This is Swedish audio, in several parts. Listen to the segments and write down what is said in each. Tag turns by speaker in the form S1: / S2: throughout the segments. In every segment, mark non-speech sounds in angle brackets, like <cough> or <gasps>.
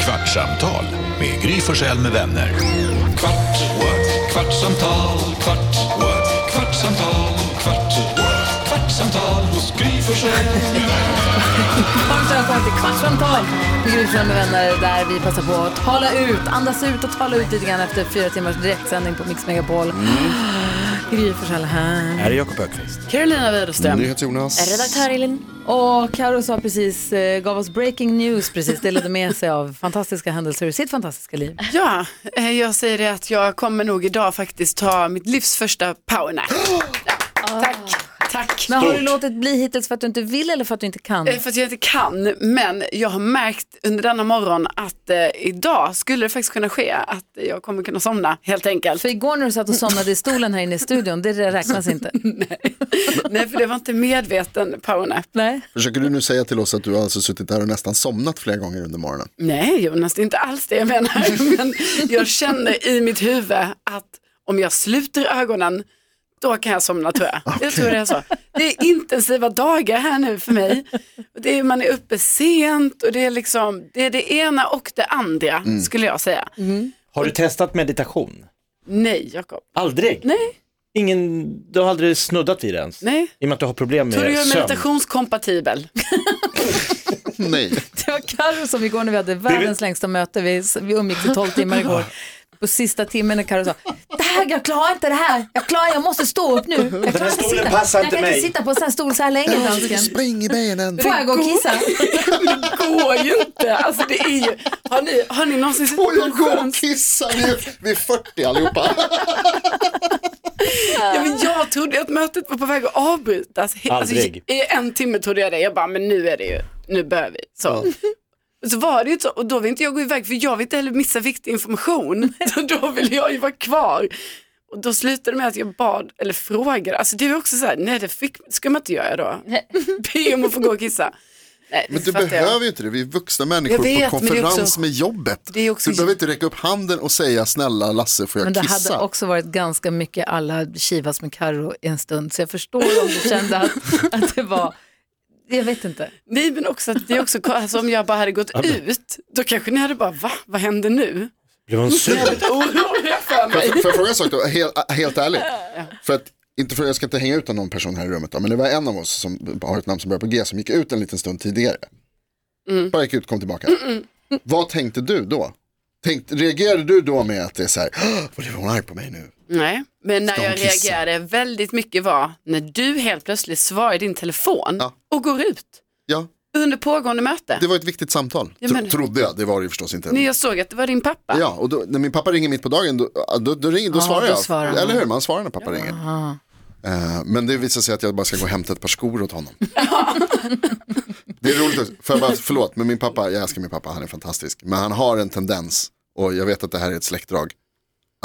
S1: Kvartsamtal med Gry Forssell med vänner. Kvart, what? kvartsamtal, kvart, what? kvartsamtal, kvart, what? kvartsamtal hos Gry Forssell med vänner.
S2: Varmt välkomna till Kvartsamtal med Gry Forssell med vänner där vi passar på att tala ut, andas ut och tala ut lite grann efter fyra timmars direktsändning på Mix Megapol. Gry Forssell här.
S3: Här är Jakob Öqvist.
S2: Carolina Widerström.
S4: NyhetsJonas.
S2: Redaktör Elin. Och Karo sa precis, eh, gav oss breaking news precis, delade med sig av fantastiska händelser ur sitt fantastiska liv.
S5: Ja, eh, jag säger det att jag kommer nog idag faktiskt ta mitt livs första
S2: <gasps>
S5: powernap. Ja, tack, tack.
S2: Ah, Men har du låtit bli hittills för att du inte vill eller för att du inte kan?
S5: Eh, För att jag inte kan, men jag har märkt under denna morgon att eh, idag skulle det faktiskt kunna ske att jag kommer kunna somna helt enkelt.
S2: För igår när du satt och somnade i stolen här inne i studion, det räknas inte.
S5: Nej, för det var inte medveten powernap.
S2: Nej.
S4: Försöker du nu säga till oss att du har alltså suttit här och nästan somnat flera gånger under morgonen?
S5: Nej Jonas, det är inte alls det jag menar. Men jag känner i mitt huvud att om jag sluter ögonen, då kan jag somna tror jag. Jag tror det är så. Det är intensiva dagar här nu för mig. Och Det är, man är uppe sent och det är liksom, det är det ena och det andra skulle jag säga.
S3: Har du testat meditation?
S5: Nej Jakob,
S3: Eh. Aldrig?
S5: Nej.
S3: Ingen, du har aldrig snuddat vid det ens?
S5: nej.
S3: I och med att du har problem med
S5: Tror du jag är
S3: sömn?
S5: meditationskompatibel? <laughs>
S4: Nej.
S2: Det var Karo som igår när vi hade världens längsta möte, vi, vi umgicks i 12 timmar igår. På sista timmen när Karo sa, det här, jag klarar inte det här, jag klarar, jag måste stå upp nu. Jag klarar
S3: här stolen
S2: sitta.
S3: passar
S2: jag
S3: inte
S2: kan
S3: mig."
S2: inte sitta på en sån här stol så här länge dansken.
S4: Spring i benen.
S2: Får jag gå och kissa?
S5: Det går ju inte. Alltså det är ju, har ni, har ni någonsin sett
S4: Får jag
S5: någon
S4: gå
S5: skön
S4: och kissa? Vi är, vi är
S5: <laughs>
S4: 40 allihopa.
S5: Ja, men jag trodde att mötet var på väg att avbrytas. He-
S3: Aldrig.
S5: Alltså, I en timme trodde jag det. Jag bara, men nu är det ju, nu börjar vi. Så. Och Så var det ju inte så, och då vill inte jag gå iväg för jag vill inte heller missa viktig information. Så då vill jag ju vara kvar. Och då slutade det med att jag bad, eller frågade, alltså det var också så här, nej det fick, ska man inte göra
S4: <laughs>
S5: då? Be om att få gå och kissa. Nej, det
S4: Men du
S5: fattar jag.
S4: behöver ju inte det. Vi är vuxna människor
S5: Jag vet,
S4: på
S5: men det är
S4: konferens
S5: också-
S4: med jobbet.
S5: det är också-
S4: Du behöver inte räcka upp handen och säga snälla Lasse får jag
S2: Men det
S4: kissa?
S2: hade också varit ganska mycket alla kivas med Karo en stund, så jag förstår om du kände att, att det var, jag vet inte.
S5: Nej men också att det är också, alltså, om jag bara hade gått ut, då kanske ni hade bara, va, vad händer
S4: <laughs>
S5: nu?
S3: Blev hon sur?
S5: Oroliga för mig.
S4: Får jag fråga en sak då, helt, helt ärligt? För att, inte för, jag ska inte hänga ut någon person här i rummet, då, men det var en av oss som har ett namn som börjar på G som gick ut en liten stund tidigare.
S5: Mm.
S4: Bara gick ut och kom tillbaka. Vad tänkte du då? Tänkte, reagerade du då med att det är så här, "Åh, vad blev hon arg på mig nu?
S5: Nej, men när
S4: Ska hon
S5: jag
S4: kissa?
S5: reagerade väldigt mycket var när du helt plötsligt svarar i din telefon
S4: Ja.
S5: och går ut
S4: Ja,
S5: under pågående möte.
S4: det var ett viktigt samtal,
S5: Ja,
S4: tro-
S5: men-
S4: trodde jag. Det var det ju förstås inte.
S5: När jag såg att det var din pappa.
S4: Ja, och då, när min pappa ringer mitt på dagen, då, då, då, ringer, då
S2: Ja,
S4: svarar
S2: då
S4: jag.
S2: svarar han.
S4: Eller hur, man svarar när pappa ringer. Eh, men det visar sig att jag bara ska gå och hämta ett par skor
S2: <laughs>
S4: åt honom. det är roligt, också. för jag bara, förlåt, men min pappa, jag älskar min pappa, han är fantastisk. Men han har en tendens, och jag vet att det här är ett släktdrag,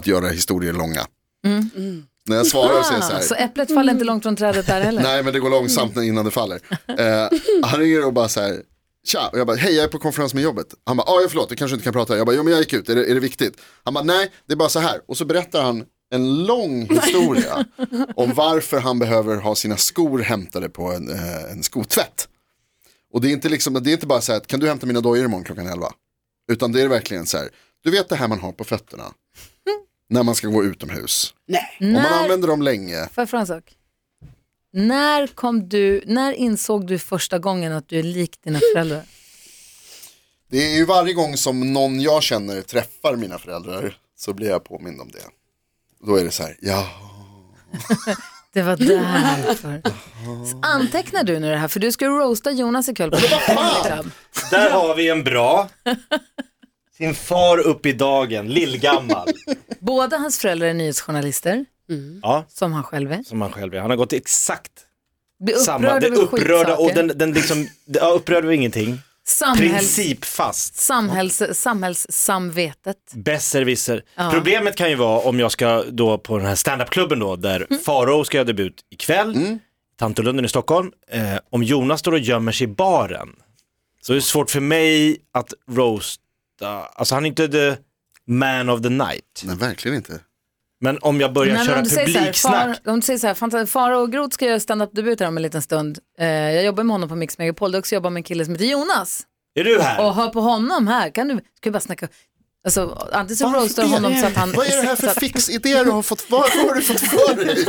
S4: att göra historier långa.
S2: Mm.
S4: När jag svarar så är jag så här,
S2: Ah, Så äpplet faller inte långt från trädet där heller.
S4: Nej men det går långsamt när- innan det faller. Eh, han ringer och bara så här, tja, och jag bara, hej jag är på konferens med jobbet. Han bara, "Ah, ja förlåt, du kanske inte kan prata. Jag bara, jo men jag gick ut, är det, är det viktigt? Han bara, nej, det är bara så här. Och så berättar han en lång historia om varför han behöver ha sina skor hämtade på en, eh, en skotvätt. Och det är inte, liksom, det är inte bara så här, att, kan du hämta mina dojor imorgon klockan 11? Utan det är verkligen så här, du vet det här man har på fötterna. När man ska gå utomhus.
S5: Nej.
S4: Om man
S2: När-
S4: använder dem länge.
S2: Får jag fråga en sak? När, kom du, när insåg du första gången att du är lik dina föräldrar?
S4: Det är ju varje gång som någon jag känner träffar mina föräldrar så blir jag påmind om det. Då är det så här, ja,
S2: Det var därför. Antecknar du nu det här? För du ska ju roasta Jonas ikväll på Club.
S3: Där har vi en bra. Sin far upp i dagen, lillgammal.
S2: Båda hans föräldrar är nyhetsjournalister,
S3: Ja,
S2: som han själv är.
S3: som han själv är. Han har gått exakt
S2: Blir
S3: samma.
S2: upprörd
S3: Det
S2: över
S3: upprörda och
S2: skitsaker.
S3: den, den liksom, det- ja, upprörd över ingenting.
S2: Samhälls,
S3: Principfast.
S2: samhälls, samhällssamvetet.
S3: Besserwisser. Problemet kan ju vara om jag ska då på den här standupklubben då där
S2: Mm.
S3: Faro ska göra debut ikväll, Tantolunden i Stockholm. Eh, om Jonas står och gömmer sig i baren, så är det svårt för mig att roasta, alltså han är inte the man of the night.
S4: nej verkligen inte.
S3: Men om jag börjar
S2: Nej, men
S3: köra
S2: om du säger så här,
S3: publiksnack,
S2: Far, om du säger så här, fanta- Faro och Groth ska göra stand-up debut här om en liten stund. Eh, jag jobbar med honom på Mix Megapol, du också jobbar med en kille som heter Jonas.
S3: Är du här?
S2: Och hör på honom här, kan du, ska vi bara snacka, alltså antingen så
S4: Varför
S2: roastar du
S4: det?
S2: honom så att han...
S4: Vad är det här för
S2: så att-
S4: fixidéer du har fått, vad har du fått för dig?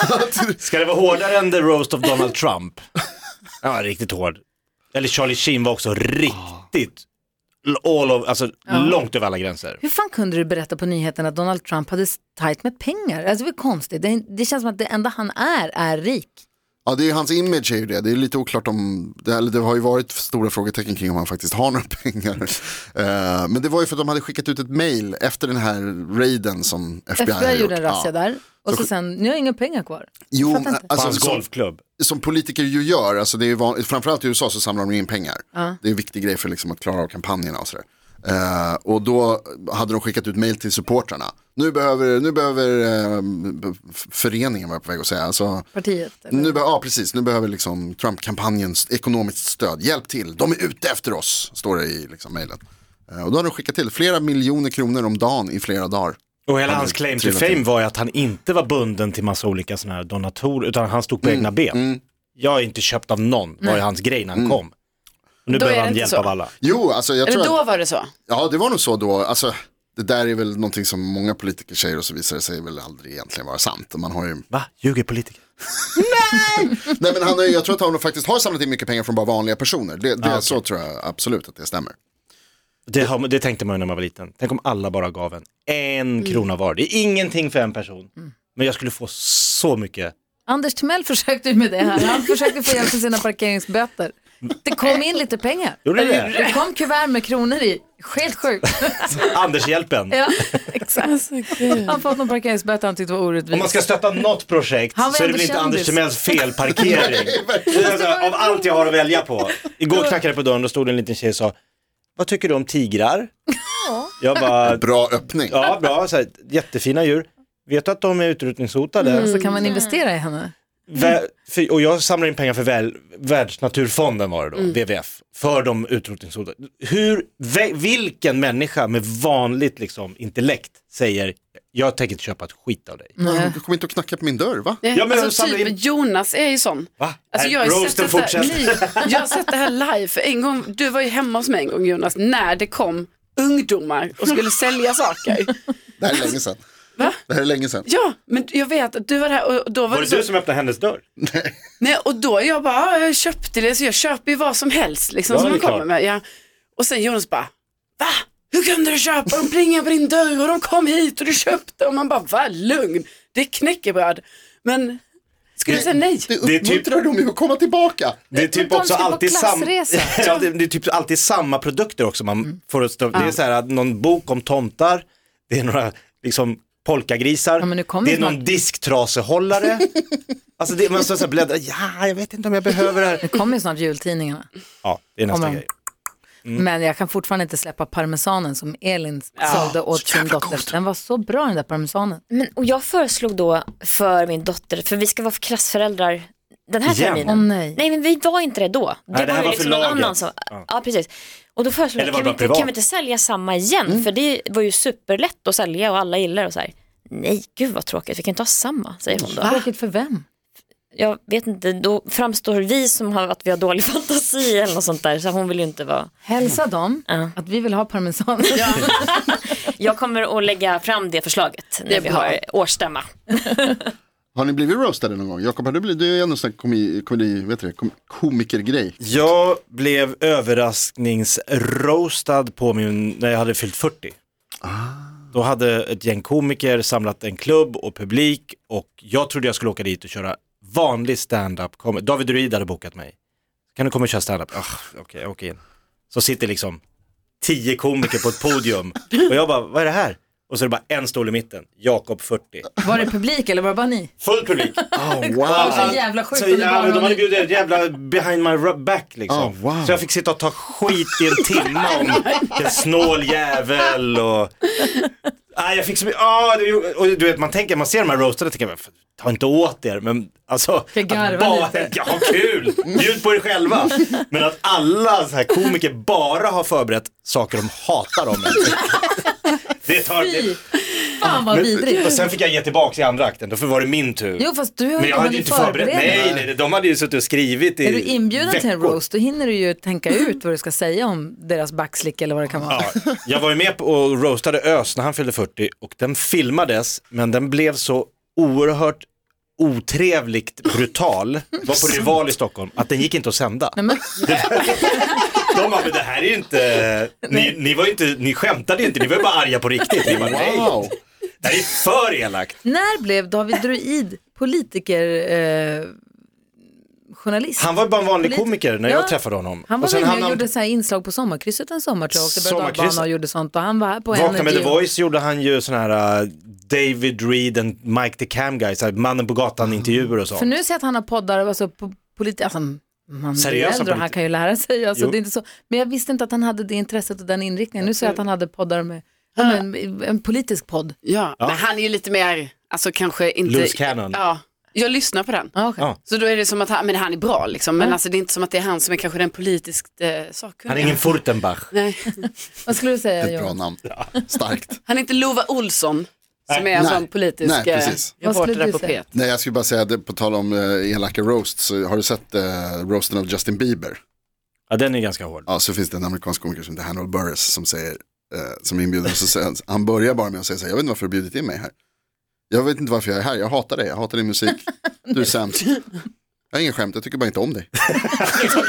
S4: Att du-
S3: Ska det vara hårdare än the roast of Donald Trump? <laughs> Ja, riktigt hård. Eller Charlie Sheen var också riktigt all of, alltså långt över alla gränser.
S2: Hur fan kunde du berätta på nyheten att Donald Trump hade s- tajt med pengar? Alltså det var konstigt, det, det känns som att det enda han är, är rik.
S4: Ja, det är hans image är ju det. Det är lite oklart om, det, eller det har ju varit stora frågetecken kring om han faktiskt har några <laughs> pengar. Eh, men det var ju för att de hade skickat ut ett mail efter den här raiden som FBI, har
S2: FBI
S4: gjort.
S2: gjorde en razzia
S4: Ja.
S2: där och så sen, nu har jag inga pengar kvar.
S4: Jo,
S2: Fattar inte.
S4: alltså,
S3: Hans
S4: som,
S3: golfklubb.
S4: som politiker ju gör, alltså det är ju van, framförallt i USA så samlar de ju in pengar. Det är en viktig grej för liksom att klara av kampanjerna och sådär. Eh, och då hade de skickat ut mail till supportrarna. Nu behöver, nu behöver eh, f- föreningen, var jag på väg att säga, alltså,
S2: Partiet. eller?
S4: nu be- ja, precis. Nu behöver liksom Trump-kampanjens ekonomiskt stöd. Hjälp till, de är ute efter oss, står det i liksom, mejlen. Eh, Och då har de skickat till flera miljoner kronor om dagen i flera dagar.
S3: Och hela hans claim to
S4: trillat
S3: fame
S4: in.
S3: var ju att han inte var bunden till massa olika sådana här donatorer, utan han stod på egna ben. Jag är inte köpt av någon, var ju hans grej när han kom. Och nu
S5: Då är
S3: behöver
S5: det
S3: han
S5: inte
S3: hjälp
S5: så.
S3: av alla.
S4: Jo, alltså jag
S5: Eller
S4: tror
S5: då
S4: att,
S5: var det så.
S4: ja det var nog så då, alltså det där är väl någonting som många politiker säger och så visar det sig väl aldrig egentligen vara sant. Man har
S3: <laughs>
S4: ju
S3: Va? Ljuger politiker?
S4: Nej men han, har ju- jag tror att han faktiskt har samlat in mycket pengar från bara vanliga personer. Det,
S3: Ah,
S4: det Så tror jag absolut att det stämmer.
S3: Det, har, det tänkte man ju när man var liten. Tänk om alla bara gav en en
S5: Mm.
S3: krona var. Det är ingenting för en person. Men jag skulle få så mycket.
S2: Anders Timell <laughs> försökte ju med det här. Han försökte få hjälp med sina parkeringsböter. Det kom in lite pengar.
S3: Gjorde det?
S2: Det kom kuvert med kronor i. Helt sjukt.
S3: Andershjälpen.
S2: Ja, exakt. Han fått någon parkeringsböter han tyckte var
S3: Om man
S2: orättvist.
S3: ska stötta något projekt
S2: Han var
S3: så är det
S2: ändå
S3: väl inte
S2: kändis.
S3: Anders Timells felparkering. Alltså,
S5: Alltså,
S3: Av allt jag har att välja på. Igår knackade det på dörren och stod en liten tjej och sa, vad tycker du om tigrar? Jag bara,
S4: Bra öppning.
S3: ja bra, så här, jättefina djur. Vet du att de är utrotningshotade?
S5: Mm.
S2: Så
S5: Alltså,
S2: kan man investera i henne.
S3: Vä- för, och jag samlar in pengar för väl, Världsnaturfonden var det
S5: Mm.
S3: då, WWF, för de utrotningshotade. Hur, vä- vilken människa med vanligt liksom, intellekt säger, jag tänker inte köpa ett skit av dig?
S5: Mm.
S4: Du kommer inte att knacka på min dörr va?
S5: Nej,
S3: Ja, men
S5: alltså,
S3: samla
S5: typ,
S3: in-
S5: Jonas är ju sån.
S3: Va?
S5: Alltså,
S3: Nej,
S5: jag, har ju
S3: roasten
S5: sett det här,
S3: fortsätter.
S5: Nej, jag har sett det här live. För en gång, du var ju hemma hos mig en gång Jonas, när det kom ungdomar och skulle sälja saker.
S4: Det här är länge
S3: <laughs>
S4: sedan.
S5: Va?
S4: Det här är länge sedan.
S5: Ja, men jag vet att du var där och då var,
S3: Var
S5: det
S3: det du
S5: så,
S3: som öppnade hennes dörr?
S5: nej, och då jag bara, "Ah, jag köpte det, så jag köper ju vad som helst liksom
S3: Ja,
S5: som
S3: det är
S5: de kommer
S3: klart.
S5: med. Ja. Och sen Jonas bara, va? Hur kunde du köpa? De plingade på din dörr och de kom hit och du köpte och man bara, va? Lugn, det är knäckebröd. Men skulle du säga nej?
S4: Det
S3: Det är typ-
S4: uppmuntrar dem ju att komma tillbaka.
S3: Det är typ
S2: de
S3: också
S2: ska på
S3: alltid sam-
S2: klassresa.
S3: <laughs> ja, det, det är typ alltid samma produkter också. Man får ett stå- Det är så här att någon bok om tomtar, det är några liksom polkagrisar,
S2: men nu kommer
S3: det är
S2: snart-
S3: någon disktrasehållare. alltså det, man står så här och bläddrar, ja jag vet inte om jag behöver det här.
S2: Det kommer ju snart jultidningarna.
S3: Ja, det är nästa
S2: Kommer.
S3: grej. Mm.
S2: Men jag kan fortfarande inte släppa parmesanen som Elin sålde åt sin dotter. Den var så bra den där parmesanen.
S6: Men, och jag föreslog då för min dotter, för vi ska vara klassföräldrar den här
S3: Igen?
S6: terminen.
S2: Åh nej.
S6: Nej men vi var inte det då. Det,
S3: Nej, det här
S6: var ju
S3: var
S6: liksom
S3: för
S6: någon
S3: laget.
S6: annan som,
S3: Ja.
S6: ja. precis. Och då föreslog
S3: Eller
S6: jag,
S3: var
S6: kan
S3: det
S6: vi,
S3: bara
S6: inte,
S3: privat?
S6: kan vi inte sälja samma igen? För det var ju superlätt att sälja och alla gillar och så här. Nej, gud vad tråkigt, vi kan inte ha samma, säger hon då.
S2: Tråkigt för vem?
S6: Jag vet inte, då framstår vi som har, att vi har dålig <laughs> fantasi eller något sånt där, så hon vill ju inte vara...
S2: Hälsa dem
S6: Ja.
S2: att vi vill ha
S3: <laughs>
S2: parmesan.
S6: Jag kommer att lägga fram det förslaget när
S5: är
S6: vi
S5: bra.
S6: har årsstämma.
S4: Har ni blivit roastade någon gång? Jakob, har du blivit, du är ändå en sån här komi, komedi, vet du det, kom, komikergrej.
S3: Jag blev överraskningsroastad på min, när jag hade fyllt 40. Då hade ett gäng komiker samlat en klubb och publik och jag trodde jag skulle åka dit och köra vanlig stand-up. comedy. David Ruid hade bokat mig. Kan du komma och köra stand-up? Ah, Okej, jag åker in. Så sitter liksom tio komiker på ett podium och jag bara, vad är det här? Och så är det bara en stol i mitten, Jakob 40.
S2: Var det publik eller var det bara ni?
S4: <laughs>
S3: Full publik. Alltså,
S2: Det var
S4: Oh, wow.
S2: så jävla sjukt
S3: Så,
S2: om det bara
S3: ja, men
S2: var
S3: de hade
S2: ni.
S3: bjudit ett jävla behind my rub- back liksom.
S4: Ah, wow.
S3: Så jag fick sitta och ta skit i en
S2: <laughs>
S3: timme
S2: Oh
S3: om vilken snål jävel och... Ah, jag fick så mycket, ah, det, och du vet man tänker, man ser de här roastade och tänker, men, ta inte åt er, men alltså.
S2: Jag garvar
S3: att bara,
S2: lite.
S3: Ja, kul, bjud på
S2: <laughs>
S3: er själva. Men att alla så här komiker
S2: <laughs>
S3: bara har förberett saker de hatar om en. Det tar, det,
S2: Fan vad
S3: Och
S2: vidrigt.
S3: sen fick jag ge tillbaka i andra akten, då var det min tur.
S2: Jo fast du har
S3: Men
S2: ju
S3: jag hade ju inte förberett Nej, nej, de hade ju suttit och skrivit i
S2: Är du inbjuden till en
S3: veckor.
S2: roast då hinner du ju tänka ut vad du ska säga om deras backslick eller vad det kan vara.
S3: Ja, jag var ju med på- och roastade Ös när han fyllde 40 och den filmades men den blev så oerhört otrevligt brutal,
S2: <laughs>
S3: var på Rival i Stockholm, att den gick inte att sända.
S2: men-
S3: De bara, men det här är
S2: <laughs>
S3: ju inte, ni, ni var ju inte, ni skämtade ju inte, ni var ju bara arga på riktigt. Ni bara, nej,
S4: Wow.
S3: det här är för elakt.
S2: När blev David Druid politiker eh, journalist?
S3: Han var ju bara en vanlig
S2: Lite-
S3: komiker när
S2: Ja.
S3: jag träffade honom.
S2: Han var väl med
S3: hamnade
S2: och gjorde så här inslag på Sommarkrysset en sommartid och åkte
S3: Sommarkrysset.
S2: berg och gjorde sånt och han var här på
S3: Vakna med The
S2: Energy.
S3: Voice gjorde han ju sån här äh, David Reed and Mike the Cam Guy, så här mannen på gatan intervjuer och så.
S2: För nu ser jag att han har poddar, alltså, på politi- alltså man blir
S3: Seriösa
S2: äldre och han
S3: politi-
S2: kan ju lära sig. Alltså,
S3: Jo.
S2: det är inte så. Men jag visste inte att han hade det intresset och den inriktningen. Nu ser jag att han hade poddar med, ja, men, en politisk podd.
S5: Ja, men han är ju lite mer, alltså kanske inte...
S3: Loose cannon.
S5: Ja, jag lyssnar på den.
S2: Ja, okej.
S3: Ja.
S5: Så då är det som att han, men han är bra liksom, men alltså det är inte som att det är han som är kanske den politiskt eh, sakkunniga.
S3: Han är ingen Furtenbach.
S5: Nej,
S2: Vad skulle du säga
S4: Ett bra
S2: Johan?
S4: namn. Starkt.
S5: han är inte Lova Olsson som är en
S4: Nej.
S5: sån politisk
S4: Nej,
S5: eh,
S4: precis.
S2: Vad
S5: reporter
S2: skulle
S5: där
S2: du
S5: på
S2: säga?
S5: P1.
S4: Nej, jag skulle bara säga, det, på tal om eh, elaka roasts, så har du sett eh, roasten av Justin Bieber?
S3: Ja, den är ganska hård.
S4: Ja, så finns det en amerikansk komiker som heter Hannibal Burris som säger, eh, som är inbjuden, och så säger <laughs> han, han börjar bara med att säga så här, jag vet inte varför du har bjudit in mig här. Jag vet inte varför jag är här, jag hatar dig, jag hatar din musik, du
S5: <laughs>
S4: är sämst. Jag har ingen skämt, jag tycker bara inte om dig. <laughs>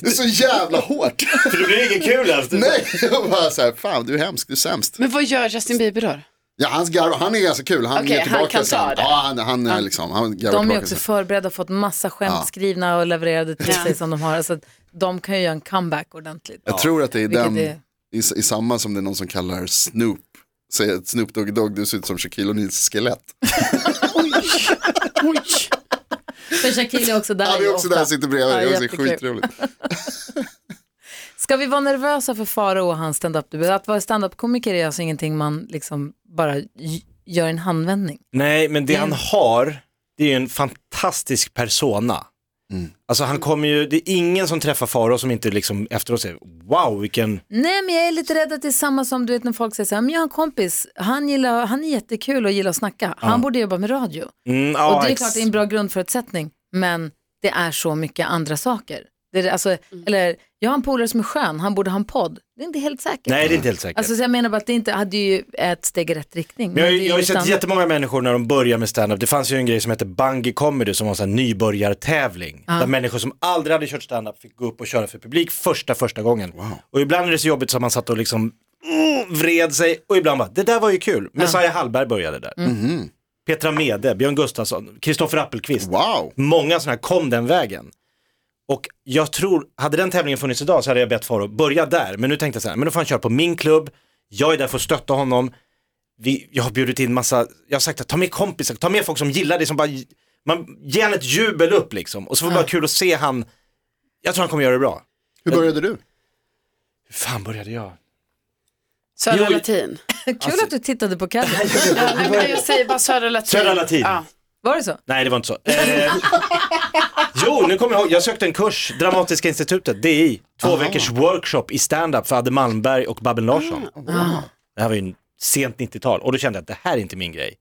S4: Det är så jävla
S5: <laughs>
S4: hårt.
S3: För det blir inget kul alltså. ens.
S4: Nej, jag bara så här, fan du är hemsk, du är sämst.
S5: Men vad gör Justin Bieber då?
S4: Ja, hans garv, han är ganska kul, han
S5: Okej,
S4: ger
S5: han
S4: tillbaka
S5: kan ta
S4: sen.
S5: det.
S4: Ja, han, han, är liksom, han garvar
S2: De är
S4: tillbaka
S2: också
S4: sen.
S2: förberedda och fått massa skämt
S4: Ja.
S2: skrivna och levererade till
S5: Ja.
S2: sig som de har. Alltså, att de kan ju göra en comeback ordentligt.
S4: Jag tror att det är
S2: Vilket
S4: den,
S2: är-
S4: I, i samma som det är någon som kallar Snoop, säger att Snoop Dogg Dogg, du ser ut som Shaquille O'Neals skelett.
S2: För Shaquille är också där.
S4: Han
S2: ju
S4: är också
S2: ofta.
S4: där, sitter bredvid,
S2: Ja,
S4: det är
S2: jättekul.
S4: skitroligt.
S2: Ska vi vara nervösa för Farao och hans stand-up debut? Att vara stand-up-komiker är alltså ingenting man liksom bara j- gör i en handvändning.
S3: Nej, men det han har, det är ju en fantastisk persona. Alltså han kommer ju, det är ingen som träffar Farao som inte liksom efteråt säger wow vilken,
S2: Nej, men jag är lite rädd att det är samma som du vet när folk säger så här, men jag har en kompis, han, gillar, han är jättekul och gillar att snacka, han borde jobba med radio.
S3: mm, ja,
S2: och det är
S3: ex-
S2: klart det är en bra grundförutsättning, men det är så mycket andra saker. Det är, alltså, Eller, jag har en polare som är skön, han borde ha en podd. Det är inte helt säkert.
S3: Nej det är inte helt säkert.
S2: Alltså, så jag menar bara att det inte hade ju ett steg i rätt riktning.
S3: Men jag, har
S2: det
S3: ju-
S2: är
S3: jag har ju
S2: lite
S3: sett
S2: annat.
S3: jättemånga människor när de börjar med stand-up. Det fanns ju en grej som hette Bungy Comedy som var en sån här nybörjartävling. Där människor som aldrig hade kört stand-up fick gå upp och köra för publik första, första gången. Och ibland är det så jobbigt som man satt och liksom mm, vred sig och ibland bara, det där var ju kul. Messiah Hallberg började där.
S4: Mm.
S2: Mm.
S4: Mhm.
S3: Petra Mede, Björn Gustafsson, Kristoffer Appelqvist.
S4: Wow,
S3: Många sådana här kom den vägen. Och jag tror, hade den tävlingen funnits idag så hade jag bett Faro börja där. Men nu tänkte jag så här, men då får han köra på min klubb, jag är där för att stötta honom. Vi, jag har bjudit in massa, jag har sagt att ta med kompisar, ta med folk som gillar det, som bara, man ger han ett jubel upp liksom. Och så var det bara kul att se han, jag tror han kommer göra det bra.
S4: hur började du?
S3: Hur fan började jag?
S5: Södra
S3: Jo,
S5: Latin.
S2: <laughs> Kul att du tittade på
S3: <laughs>
S2: Kalle.
S5: Ja, nej, men jag säger bara Södra Latin.
S3: Södra Latin.
S5: Ja.
S2: Var det så?
S3: Nej det var inte så. Eh, jo, nu kommer jag ihåg, jag sökte en kurs, Dramatiska institutet, DI, två veckors workshop i stand-up för Adde Malmberg och Babben Larsson. Det här var ju en sent 90-tal och då kände jag att det här är inte min grej.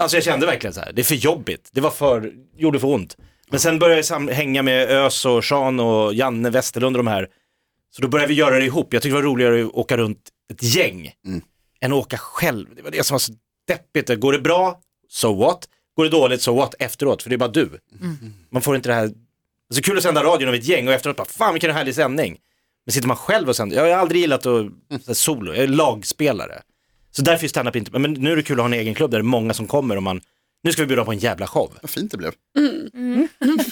S3: Alltså jag kände verkligen så här, det är för jobbigt, det var för, gjorde för ont. Men sen började jag sam- hänga med Ös och Sean och Janne Westerlund och de här. Så då började vi göra det ihop, jag tyckte det var roligare att åka runt ett gäng än att åka själv. Det var det som var så deppigt, går det bra, so what? Går det dåligt, so what? Efteråt, för det är bara du. Man får inte det här, alltså kul att sända radion av ett gäng och efteråt bara, fan vilken härlig sändning. Men sitter man själv och sänder, jag har aldrig gillat att så här, solo, jag är lagspelare. Så därför är stand-up inte, men nu är det kul att ha en egen klubb där det är många som kommer och man, nu ska vi bjuda på en jävla show.
S4: Vad fint det blev.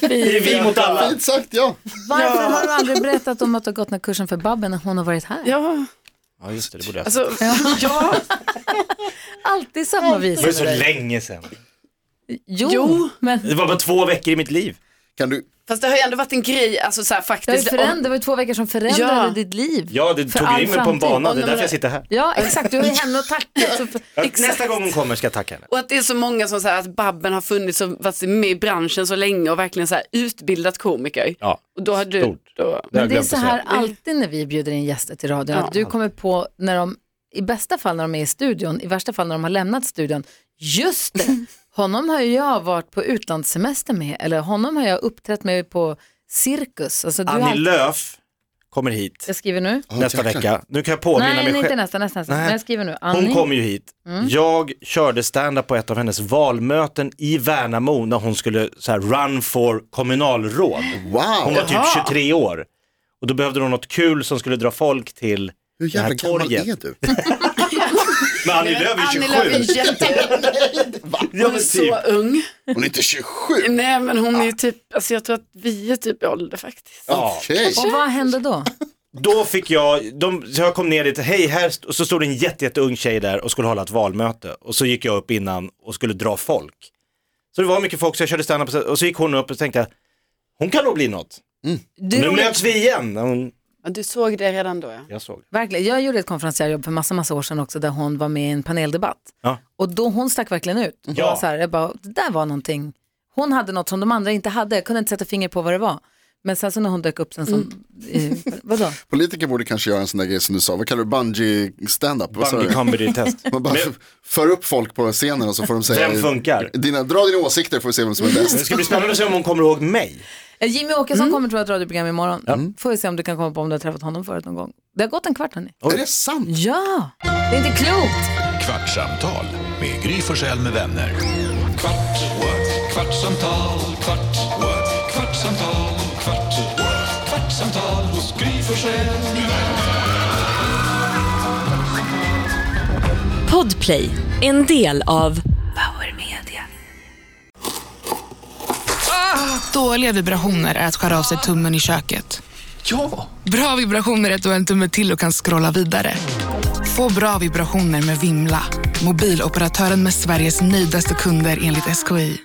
S3: Det är vi mot alla.
S4: Fint sagt, ja.
S2: Varför har du aldrig berättat om att du har gått den här kursen för Babben när hon har varit här?
S5: Ja,
S3: Ja just det, det borde jag
S5: alltså, <laughs> ja,
S2: Alltid samma
S3: Alltså, Det
S2: visa
S3: var
S2: med
S3: så
S2: dig.
S3: länge sedan.
S2: Jo,
S5: Jo.
S2: men
S3: Det var bara två veckor i mitt liv.
S4: Kan du,
S5: fast det har ju ändå varit en grej, alltså så här, faktiskt.
S2: det var, ju
S5: om-
S2: föränd- det var ju två veckor som förändrade
S5: Ja.
S2: ditt liv.
S3: Ja, det
S2: För
S3: tog
S2: all
S3: in mig på en
S2: framtid.
S3: bana, det är
S5: men-
S3: därför jag sitter här.
S2: Ja, exakt. Du har ju henne att tacka. Så för-
S3: Nästa gång hon kommer ska jag tacka henne.
S5: Och att det är så många som säger att Babben har funnits och varit med i branschen så länge och verkligen så här utbildat komiker.
S3: Ja,
S5: Och då har du...
S3: stort.
S5: Då,
S3: har jag
S2: Men det är
S3: glömt
S2: så
S3: att säga.
S2: här alltid när vi bjuder in gäster till radion, att du kommer på när de i bästa fall när de är i studion, i värsta fall när de har lämnat studion.
S5: <laughs>
S2: Just det, honom har ju jag varit på utlandssemester med, eller honom har jag uppträtt med på cirkus. Alltså, du har
S3: Annie
S2: alltid-
S3: Lööf kommer hit
S2: Jag skriver nu.
S4: Ja,
S3: nästa
S4: jäklar.
S3: vecka. Nu kan jag påminna
S2: Nej,
S3: mig
S2: nej,
S3: själv.
S2: inte Mm. nästa, nästa, nästa.
S3: Nej.
S2: Nej. Jag skriver nu. Annie.
S3: Hon kom ju hit. Jag körde stand-up på ett av hennes valmöten i Värnamo när hon skulle så här, run for kommunalråd. Hon
S4: Wow,
S3: var typ 23 år. Och då behövde hon något kul som skulle dra folk till
S4: hur
S3: det
S4: jävla
S3: här
S4: gammal
S3: torget.
S4: är du?
S3: Men Annie Lööf är
S5: Annie Lööf
S3: 27.
S5: är jätte... Hon
S3: Ja,
S5: är
S3: men
S5: så
S3: typ.
S5: ung.
S4: Hon är inte 27.
S5: Nej men hon är ju typ, alltså jag tror att vi är typ i ålder faktiskt.
S3: Ja.
S4: Okej,
S2: Och vad hände då?
S3: Då fick jag, de, så jag kom ner dit, hej här, st- och så stod det en jätte, jätteung tjej där och skulle hålla ett valmöte. Och så gick jag upp innan och skulle dra folk. Så det var mycket folk så jag körde stand-up och så gick hon upp och tänkte, jag, hon kan nog bli något.
S2: Du,
S3: nu möts vi igen. Hon,
S5: Ja, du såg det redan då ja.
S3: jag såg det.
S2: Verkligen. Jag gjorde ett konferensjobb för massa, massa år sedan också där hon var med i en paneldebatt.
S3: Ja.
S2: Och då hon stack verkligen ut. Hon
S3: Ja.
S2: var så här, jag bara, det där var någonting. Hon hade något som de andra inte hade. Jag kunde inte sätta finger på vad det var. Men sen så när hon dök upp sen så,
S3: Mm.
S2: eh, vadå?
S3: <laughs>
S4: politiker borde kanske göra en sån där grej som du sa, vad kallar du bungee stand-up? Vad sa
S3: Bungee
S4: du?
S3: comedy test.
S4: Man bara
S3: Men-
S4: för upp folk på scenen och så får de säga
S3: Vem funkar?
S4: Dina, dra dina åsikter får vi se vem som är
S3: Men
S4: bäst.
S3: Det ska bli spännande att se om hon kommer ihåg mig.
S2: Eh, Jimmy Åkesson
S3: Mm.
S2: kommer till vårt radioprogram imorgon. Får vi se om du kan komma på om du har träffat honom förut någon gång. Det har gått en kvart hörni.
S4: Är det sant?
S2: Ja, det är inte klokt.
S1: Kvartsamtal med Gry Forssell med vänner. Kvart, what? kvartsamtal, kvart, what? kvartsamtal, kvart, what? kvartsamtal hos Gry Forssell med vänner.
S7: Podplay, en del av
S8: Dåliga vibrationer är att skära av sig tummen i köket.
S1: Ja!
S8: Bra vibrationer är att du har en tumme till och kan scrolla vidare. Få bra vibrationer med Vimla. Mobiloperatören med Sveriges nöjdaste kunder enligt SKI.